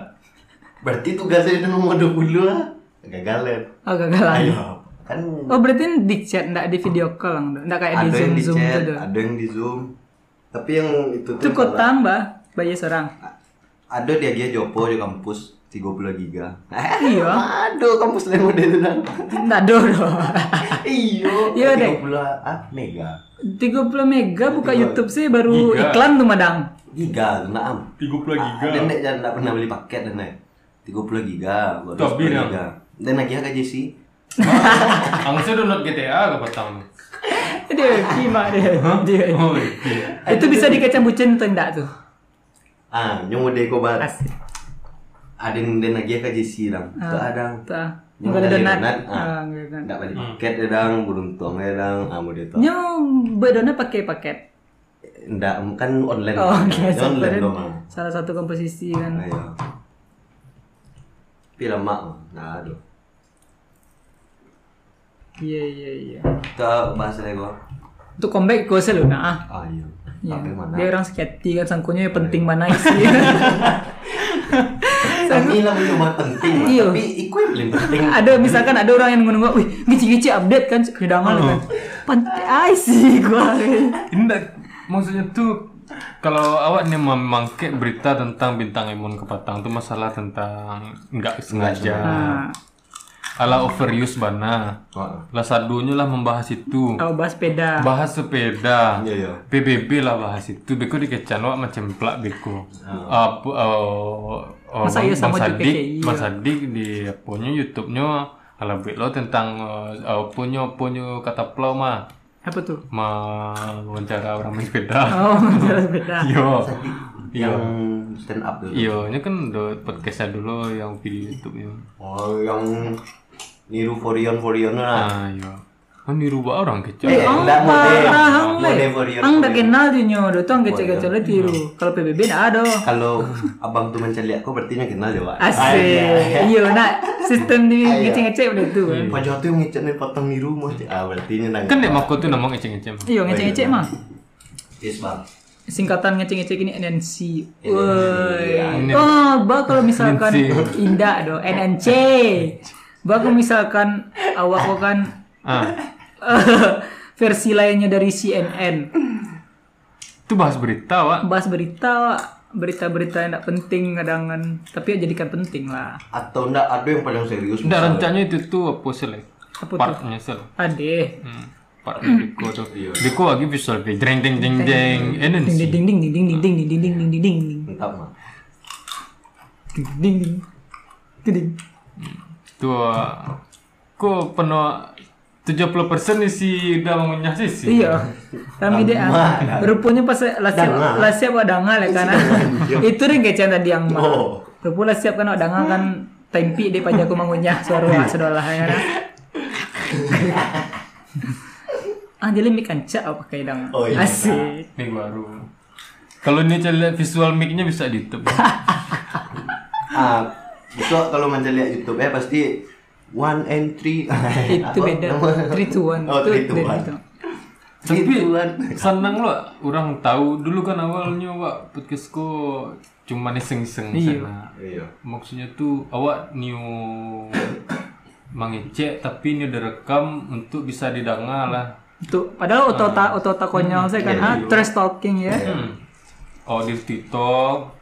Speaker 3: Berarti tugas saya ada nomor 20 lah. Gagal eh.
Speaker 1: Oh gagalan.
Speaker 3: Ayo. Kan
Speaker 1: Oh berarti di chat ndak di video call lang ndak kayak di gitu.
Speaker 3: ada
Speaker 1: zoom
Speaker 3: yang di
Speaker 1: zoom
Speaker 3: chat,
Speaker 1: tuh.
Speaker 3: ada yang di zoom. Tapi yang itu tuh
Speaker 1: Itu
Speaker 3: salah.
Speaker 1: kota mbak, bayar seorang.
Speaker 3: Ada dia dia Jopo di kampus 30 giga.
Speaker 1: Iya.
Speaker 3: Aduh kampus lain model itu dah.
Speaker 1: Ndak do do. [LAUGHS]
Speaker 3: Iyo.
Speaker 1: Iya, Dek.
Speaker 3: 30 ah mega.
Speaker 1: 30 mega buka YouTube sih baru
Speaker 2: Giga.
Speaker 1: iklan tuh madang.
Speaker 3: Giga nak am.
Speaker 2: 30 giga.
Speaker 3: Dan nek jangan tak pernah beli paket dan nek. 30 giga baru
Speaker 2: Tuh,
Speaker 3: 10
Speaker 2: bilang.
Speaker 3: giga. Dan lagi ya, agak JC.
Speaker 2: Ang saya download GTA ke petang.
Speaker 1: [LAUGHS] Dia kima deh. Dia.
Speaker 2: Oh, iya.
Speaker 1: Itu bisa dikacang bucin tuh ndak tuh.
Speaker 3: Ah, yang model kau bar.
Speaker 1: Asik.
Speaker 3: Ada yang dan lagi ya, agak JC lah.
Speaker 1: Ah.
Speaker 3: Tak ada.
Speaker 1: Tuh.
Speaker 3: Yang
Speaker 1: Enggak ada
Speaker 3: dari
Speaker 1: donat.
Speaker 3: donat, ah.
Speaker 1: Ah, nggak ada donat.
Speaker 3: Tak
Speaker 2: Hmm.
Speaker 3: beli paket dia dang, beruntung dia dang. Ah model tu.
Speaker 1: Nyo berdonat pakai paket.
Speaker 3: Ndak kan online.
Speaker 1: Oh, oke.
Speaker 3: Dia online
Speaker 1: Salah-
Speaker 3: dong. ah. Nah, iya.
Speaker 1: Salah satu komposisi kan.
Speaker 3: Ayo. Pila mak. Nah, aduh.
Speaker 1: Iya iya iya.
Speaker 3: Kita bahas lagi gua.
Speaker 1: Untuk comeback gue selalu nah. ah.
Speaker 3: Ah, iya.
Speaker 1: Ya,
Speaker 3: Tapi mana?
Speaker 1: Dia orang skepti kan sangkunya yang penting mana isi.
Speaker 3: Kami lah punya buat penting. lah.
Speaker 1: Iya.
Speaker 3: Tapi iku yang paling penting.
Speaker 1: [LAUGHS] ada misalkan ada orang yang menunggu, wih gici-gici update kan kedangan kan. Penting isi gua.
Speaker 2: Ini ndak maksudnya tuh kalau awak nih memangke berita tentang bintang imun kepatang tuh masalah tentang nggak sengaja
Speaker 1: Nah,
Speaker 2: ala overuse bana
Speaker 3: Ah,
Speaker 2: lah sadunya lah membahas itu
Speaker 1: oh, bahas sepeda.
Speaker 2: bahas sepeda
Speaker 3: Iya, iya.
Speaker 2: PBB lah bahas itu beko dikecan wak macam plak beko apa eh,
Speaker 1: Masa iya sama juga kayak iya.
Speaker 2: Mas Sadik di punya YouTube-nya ala buat lo tentang uh, punya punya kata plau mah
Speaker 1: Apa tuh?
Speaker 2: ma wawancara orang main sepeda
Speaker 1: Oh, [LAUGHS] bahas sepeda.
Speaker 2: Yo.
Speaker 3: Yang stand
Speaker 1: Iya.
Speaker 3: up dulu.
Speaker 2: Yo, ini kan do podcastnya dulu yang video YouTube ya.
Speaker 3: Oh, yang niru Forion Forion
Speaker 2: Ah,
Speaker 3: lah.
Speaker 2: yo. Oh, niru ba orang kecil.
Speaker 3: Eh,
Speaker 1: Ang
Speaker 3: ndak model.
Speaker 1: Ya parah ang le.
Speaker 3: Model Forion.
Speaker 1: Ang dah kenal tuh nyo, tuh ang kecil-kecil le tiru. Kalau PBB ndak ada.
Speaker 3: Kalau abang tu mencari aku berarti nya kenal ya, Ah, dia. Wak.
Speaker 1: Asik. Iya, nak sistem di ngecek-ngecek udah tuh. kan.
Speaker 3: Pak Jawa tu yang ngecek ni potong niru mah. Ah, berarti nya nang.
Speaker 2: Kan dek mako tuh namang eceng-eceng.
Speaker 1: Iya, ngecek-ngecek mah.
Speaker 3: Yes, Bang.
Speaker 1: singkatan ngecek-ngecek ini NNC.
Speaker 3: NNC.
Speaker 2: Ini-
Speaker 1: Woi. Oh, bah kalau misalkan
Speaker 2: NNC.
Speaker 1: indah do NNC. Bah kalau misalkan awak kok kan [LAUGHS]
Speaker 2: Ah,
Speaker 1: versi lainnya dari CNN.
Speaker 2: itu bahas berita, Wak.
Speaker 1: Bahas berita Wak. berita-berita yang tidak penting kadangan tapi ya jadikan penting lah
Speaker 3: Atau ndak ada yang paling serius.
Speaker 2: Ndak rencananya itu tuh apa sih? Le?
Speaker 1: Apa tuh?
Speaker 2: Partnya sih. Le.
Speaker 1: ade
Speaker 2: Hmm. Partnya Diko tuh. Diko lagi visual kayak jreng jeng jeng jeng.
Speaker 1: ding
Speaker 2: Enen sih.
Speaker 1: ding ding ding ding ding ding ding ding ding ding ding ding
Speaker 3: Entah mah.
Speaker 1: ding ding ding ding ding
Speaker 2: Tuh. Ko penuh itu 70% isi udah mengunyah sih sih.
Speaker 1: Iya. Kami dia
Speaker 3: Lama.
Speaker 1: rupanya pas lah siap
Speaker 3: Dangal.
Speaker 1: lah siap wa dangal ya kan. [LAUGHS] Itu ring kecen tadi yang mah.
Speaker 3: Iya. Oh.
Speaker 1: Rupanya lah siap kan wa dangal kan tempi deh pajak aku mangunyah suara
Speaker 3: Iya.
Speaker 1: wa sedolah ya
Speaker 3: [LAUGHS]
Speaker 1: kan. Ah jadi mik kancak apa kayak dang.
Speaker 3: Oh, iya.
Speaker 1: Asik.
Speaker 2: Mic baru. Kalau ini cari lihat visual mic-nya bisa
Speaker 1: [LAUGHS]
Speaker 2: di YouTube.
Speaker 1: Gitu
Speaker 3: Ah, itu kalau manja lihat YouTube ya pasti one and three.
Speaker 1: [LAUGHS] Itu
Speaker 3: Apa
Speaker 1: beda.
Speaker 3: nama?
Speaker 1: Three to one.
Speaker 3: Oh, three to
Speaker 1: Itu-
Speaker 3: one.
Speaker 1: itu.
Speaker 3: Three
Speaker 2: Tapi
Speaker 3: to
Speaker 1: kan.
Speaker 3: one.
Speaker 2: senang loh orang tahu dulu kan awalnya Wak podcastku cuma iseng-iseng
Speaker 1: Iya.
Speaker 2: sana.
Speaker 3: Iya.
Speaker 2: Maksudnya tuh awak new mengecek tapi ini direkam untuk bisa didengar lah.
Speaker 1: Itu padahal otota otota konyol saya
Speaker 3: Iya,
Speaker 1: kan ah trash talking ya.
Speaker 2: Hmm. Oh di TikTok.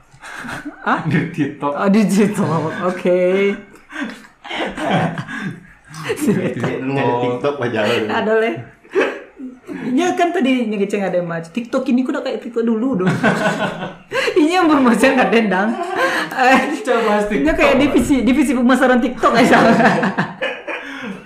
Speaker 1: Hah?
Speaker 2: Di TikTok.
Speaker 1: Oh digital. Oke.
Speaker 3: Kayak dulu ada TikTok aja.
Speaker 1: Ada leh. Ya kan tadi ngeceng ada yang macam TikTok ini kuda kayak TikTok dulu dong. ini yang bermasalah nggak dendang. Eh,
Speaker 2: Coba bahas
Speaker 1: Ini
Speaker 2: TikTok.
Speaker 1: kayak divisi divisi pemasaran TikTok aja.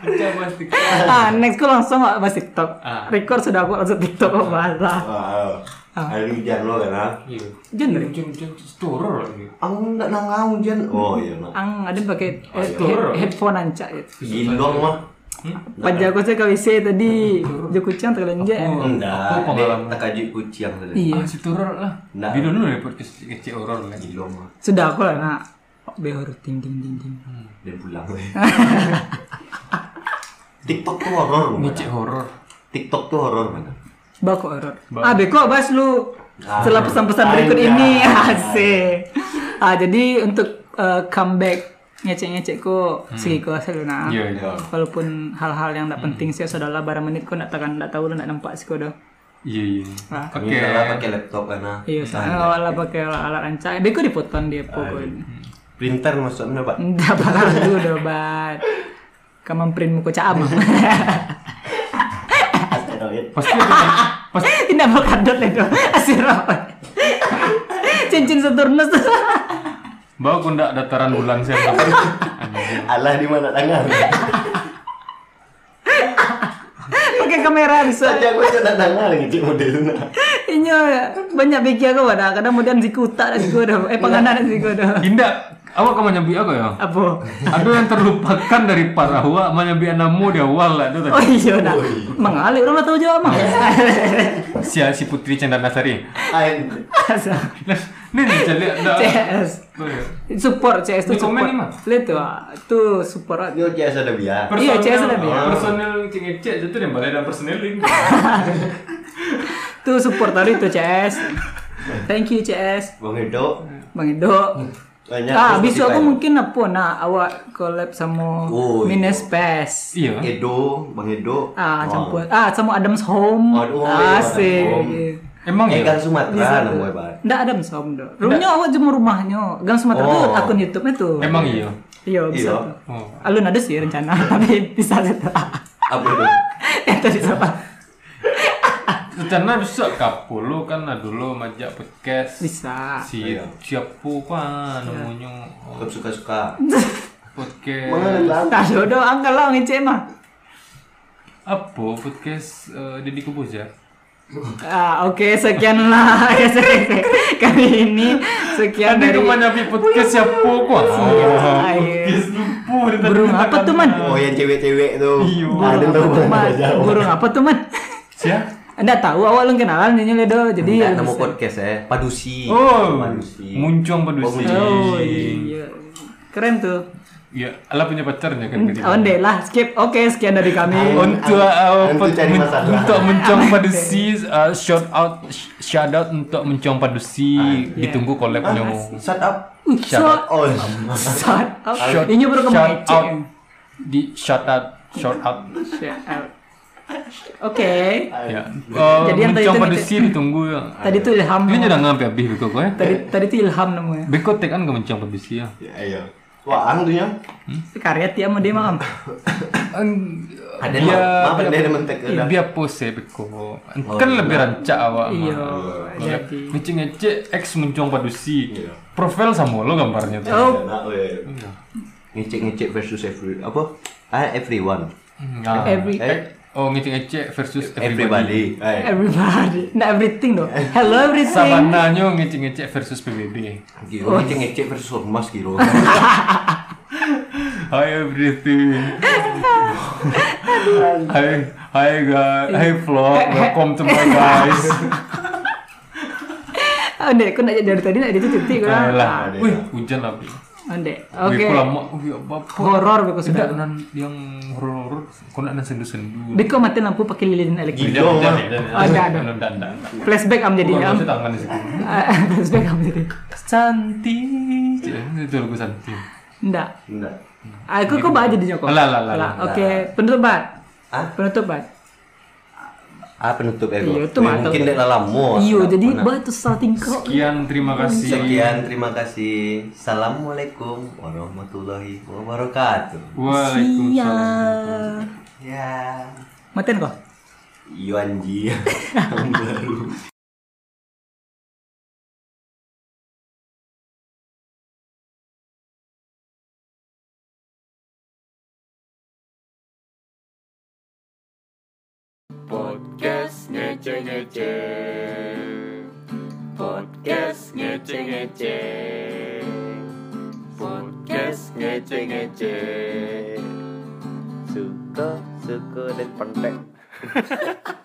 Speaker 2: Coba bahas TikTok.
Speaker 1: ah, next ku langsung nggak bahas TikTok.
Speaker 2: Ah.
Speaker 1: Record sudah aku langsung TikTok kok bahas lah.
Speaker 3: Wow. Ada hujan lo kan? ah?
Speaker 2: Iya.
Speaker 1: Jen,
Speaker 2: Jom-jom turun lagi.
Speaker 3: Ang nggak nangau hujan. Oh iya. nak.
Speaker 1: ang ada pakai eh,
Speaker 2: Oh, iya.
Speaker 1: head- headphone anca ya.
Speaker 3: Gindong mah.
Speaker 1: Panjang aku saya KWC tadi, jokucang terlanjang.
Speaker 2: Oh,
Speaker 3: Enggak.
Speaker 2: Aku pengalaman.
Speaker 3: Tak kaji kucing tadi.
Speaker 1: Iya.
Speaker 2: Ah, si turun lah.
Speaker 3: Nah.
Speaker 2: Video dulu dari podcast kecil horor kan? lagi.
Speaker 3: Gindong mah.
Speaker 1: Sudah aku lah nak. Behor ting ting ting ting.
Speaker 3: Dia pulang. [LAUGHS] TikTok tuh horor. mana?
Speaker 2: Ngecek horor.
Speaker 3: TikTok tuh horor mana?
Speaker 1: Bako error.
Speaker 2: Bako.
Speaker 1: Ah, beko bas lu. Setelah pesan-pesan berikut
Speaker 3: Anjay.
Speaker 1: ini [LAUGHS] asik. Ah, jadi untuk eh, comeback ngecek-ngecekku segi ku asal nah.
Speaker 2: Hmm. Iya, Hmm. iya.
Speaker 3: Iya.
Speaker 1: Walaupun hal-hal yang tidak penting sih saudara barang menit ku nak tekan tak tahu lu nak nampak sih ku dah.
Speaker 2: Iya, iya.
Speaker 1: Ah.
Speaker 2: Oke.
Speaker 3: Kalau pakai laptop kan? ah.
Speaker 2: Hmm.
Speaker 1: Iya,
Speaker 2: Nah,
Speaker 1: soalnya awal pakai alat ancak. Beko dipotong dia
Speaker 2: Ah,
Speaker 1: pokoknya.
Speaker 2: iya.
Speaker 3: Printer maksudnya [LAUGHS] pak?
Speaker 1: Enggak bakal dulu dah bat. Kamu print muka cam.
Speaker 2: [LAUGHS]
Speaker 3: Asteroid.
Speaker 2: Pasti ada pasti
Speaker 1: [LAUGHS] Tidak bakal dot itu. Asirah. Cincin seturnus.
Speaker 2: bawa aku ndak dataran bulan saya. tahu.
Speaker 3: Allah di mana tangan?
Speaker 1: [LAUGHS] pakai kamera bisa.
Speaker 3: [LAUGHS] Saja gue tidak tangan gitu modelnya.
Speaker 1: Inyo banyak pikir aku ada kadang kemudian si kutak dan si godo. Eh penganan dan si godo.
Speaker 2: Indah, awak kamu nyambi aku ya?
Speaker 1: Apa?
Speaker 2: Ada yang terlupakan dari para awak menyambi anakmu di awal lah itu tadi.
Speaker 1: Oh iya nak. Mengalir orang tahu jawab [LAUGHS] mah.
Speaker 2: Si, si Putri Cendranasari.
Speaker 3: Ain.
Speaker 1: Asal.
Speaker 2: Nah, Ini nih
Speaker 1: [LAUGHS]
Speaker 2: jadi ya. ada.
Speaker 1: CS. Support CS tuh
Speaker 2: Di
Speaker 1: support.
Speaker 2: komen ni, Mak.
Speaker 1: Lihat tuh, ah, tuh support.
Speaker 3: Yo kia ada biar.
Speaker 1: Iya, CS ada biar.
Speaker 2: Personel Oh. ngecek itu yang balai dan
Speaker 1: [LAUGHS]
Speaker 2: personeling.
Speaker 1: Tuh support tadi tuh CS. Thank you CS.
Speaker 3: Bang Edo
Speaker 1: Bang Edo.
Speaker 3: banyak.
Speaker 1: Ah,
Speaker 3: terus
Speaker 1: besok
Speaker 3: kita-
Speaker 1: aku mungkin apa nah awak collab sama
Speaker 3: Oh, iya.
Speaker 1: Minespes.
Speaker 2: Iya.
Speaker 3: Edo, Bang Edo.
Speaker 1: Ah,
Speaker 3: Oh.
Speaker 1: campur. Ah, sama Adam's Home.
Speaker 3: Aduh,
Speaker 1: Asik.
Speaker 3: iya, Adam's Home.
Speaker 2: Emang
Speaker 3: Eh,
Speaker 2: ya?
Speaker 3: Gang Sumatera nama gue pak.
Speaker 1: Nggak ada misalnya dong. Rumahnya awak cuma rumahnya. Gang Sumatera tuh
Speaker 3: Oh.
Speaker 1: akun YouTube-nya tuh.
Speaker 2: Emang iya.
Speaker 1: Iya, bisa
Speaker 3: Iya.
Speaker 1: tuh.
Speaker 2: Oh.
Speaker 1: Alun ada sih rencana, [LAUGHS] tapi bisa sih tuh. [LAUGHS]
Speaker 3: Apa itu?
Speaker 1: Eh, tadi siapa?
Speaker 2: Rencana bisa kapul lo kan lah dulu majak podcast.
Speaker 1: Bisa. Iya.
Speaker 2: Si
Speaker 3: Iya.
Speaker 2: siapa kan namanya
Speaker 3: Kau suka suka.
Speaker 1: [LAUGHS]
Speaker 2: podcast
Speaker 3: Mengelang.
Speaker 1: Tak ada doang angkat lah ngecek mah.
Speaker 2: apa podcast eh, Deddy Kobuzer.
Speaker 1: Ah, oke sekian lah [LAUGHS] kali ini sekian
Speaker 2: Tadi
Speaker 1: dari
Speaker 2: aku menyapi podcast siapa kan?
Speaker 1: Ah, iya.
Speaker 2: Podcast lupa dia tadi
Speaker 1: burung apa
Speaker 2: katakan.
Speaker 1: tuh man?
Speaker 3: Oh yang cewek-cewek Ah, tuh.
Speaker 2: Iya.
Speaker 1: Burung
Speaker 3: Ada
Speaker 1: apa
Speaker 3: tuh
Speaker 1: tuh man?
Speaker 3: Jauh.
Speaker 1: Burung apa tuh man?
Speaker 2: Siapa?
Speaker 1: Anda tahu awal lu kenalan ini ledo jadi ya
Speaker 3: Nggak, nama
Speaker 1: bisa.
Speaker 3: podcast ya. Padusi.
Speaker 2: Oh,
Speaker 3: Padusi.
Speaker 2: muncung pedusi.
Speaker 1: Oh iya. Keren tuh.
Speaker 2: Ya, Allah punya pacarnya
Speaker 1: Hmm,
Speaker 2: kan gitu.
Speaker 1: Onde lah, skip. Oke, sekian dari kami.
Speaker 2: Untuk uh,
Speaker 3: Untuk
Speaker 2: ped-
Speaker 3: cari
Speaker 2: men-
Speaker 3: masalah.
Speaker 2: untuk mencong
Speaker 1: [LAUGHS]
Speaker 2: padusi uh, shout out sh- shout out untuk mencong padusi ditunggu collab
Speaker 3: Ah,
Speaker 2: nyo.
Speaker 3: Shut up.
Speaker 1: Wih, Shot.
Speaker 2: Shout
Speaker 3: Oh.
Speaker 2: Ya.
Speaker 1: Shot. up.
Speaker 2: Shout,
Speaker 3: iya.
Speaker 1: Ini baru
Speaker 2: shout
Speaker 1: kemarin.
Speaker 2: out di shout out shout out
Speaker 1: Oke.
Speaker 3: Ah,
Speaker 2: ya.
Speaker 3: iya.
Speaker 2: Uh,
Speaker 1: Jadi yang tadi
Speaker 2: mencong
Speaker 1: itu-
Speaker 2: padusi ditunggu ya.
Speaker 1: Tadi tuh Ilham.
Speaker 2: Ini udah ngampe habis beko kok ya.
Speaker 1: Tadi tadi tuh Ilham namanya.
Speaker 2: Beko tek kan ke mencong padusi ya.
Speaker 3: Ya, Ayo. Wah, ya. ang tuh yang.
Speaker 1: Karya tiap mau dia malam.
Speaker 3: Ada
Speaker 2: Dia-
Speaker 3: maaf ada ada mentek ada.
Speaker 2: Dia pose beko. Kan
Speaker 3: Oh,
Speaker 2: lebih rancak awak. mah.
Speaker 1: Iya.
Speaker 2: Ya,
Speaker 1: Jadi.
Speaker 2: Ngecek ngecek X mencong padusi.
Speaker 3: Iya.
Speaker 2: Profil sama lo gambarnya tuh.
Speaker 1: Oh,
Speaker 2: Ya.
Speaker 3: Enak, weh. Ngecek ngecek versus every apa? Ah everyone.
Speaker 2: Nah.
Speaker 1: Every
Speaker 3: Eh,
Speaker 2: Oh, ngecek ngecek versus everybody.
Speaker 3: everybody. Eh,
Speaker 1: everybody, nah everything dong. Hello everything.
Speaker 2: Sabananya ngecek ngecek versus PBB.
Speaker 3: Giro ngecek ngecek versus
Speaker 2: [LAUGHS]
Speaker 3: ormas Giro.
Speaker 2: Hi everything. hi, hi guys. Hi vlog. Welcome to my guys.
Speaker 1: Oh, Ndek, aku nak jadi dari tadi nak jadi titik kurang.
Speaker 2: Ayolah. Wih, hujan lah. Bi.
Speaker 1: Oh, Ndek.
Speaker 2: Wih,
Speaker 1: Oke.
Speaker 2: aku lama. Wih, ya apa?
Speaker 1: Horor aku sudah.
Speaker 2: Tidak nan yang horor-horor. Kau nak nan sendu-sendu.
Speaker 1: Deko mati lampu pakai lilin elektrik.
Speaker 2: Hujan,
Speaker 3: Gila, mah.
Speaker 2: hujan, hujan.
Speaker 1: Ada, ada.
Speaker 2: Nan, dan, dan.
Speaker 1: Flashback am Oh, jadi
Speaker 2: Bukan,
Speaker 1: am.
Speaker 2: maksudnya tangan di situ.
Speaker 1: Ah, [LAUGHS] Flashback am jadi.
Speaker 2: Santi. Itu lagu Santi.
Speaker 1: Ndak.
Speaker 3: Enggak.
Speaker 1: Aku Iya, kok baca jadi Joko.
Speaker 2: Alah, alah, alah,
Speaker 1: Alah,
Speaker 2: alah.
Speaker 1: Oke, penutup bat.
Speaker 3: Hah?
Speaker 1: Penutup bat.
Speaker 3: Ah penutup ego.
Speaker 1: Iya, itu
Speaker 3: Eh,
Speaker 1: mah.
Speaker 3: Mungkin dek lalamu.
Speaker 1: Iyo,
Speaker 3: Nah,
Speaker 1: jadi
Speaker 3: mana.
Speaker 1: batu salting kok.
Speaker 2: Sekian, terima kasih.
Speaker 3: Sekian, terima kasih. Assalamualaikum warahmatullahi wabarakatuh.
Speaker 2: Waalaikumsalam.
Speaker 3: Ya.
Speaker 1: Matiin kok.
Speaker 3: Iyo anji. Yang baru.
Speaker 4: Podcast ngece ngece. Podcast ngece ngece. Podcast ngece ngece.
Speaker 3: Suka, suka dan pendek.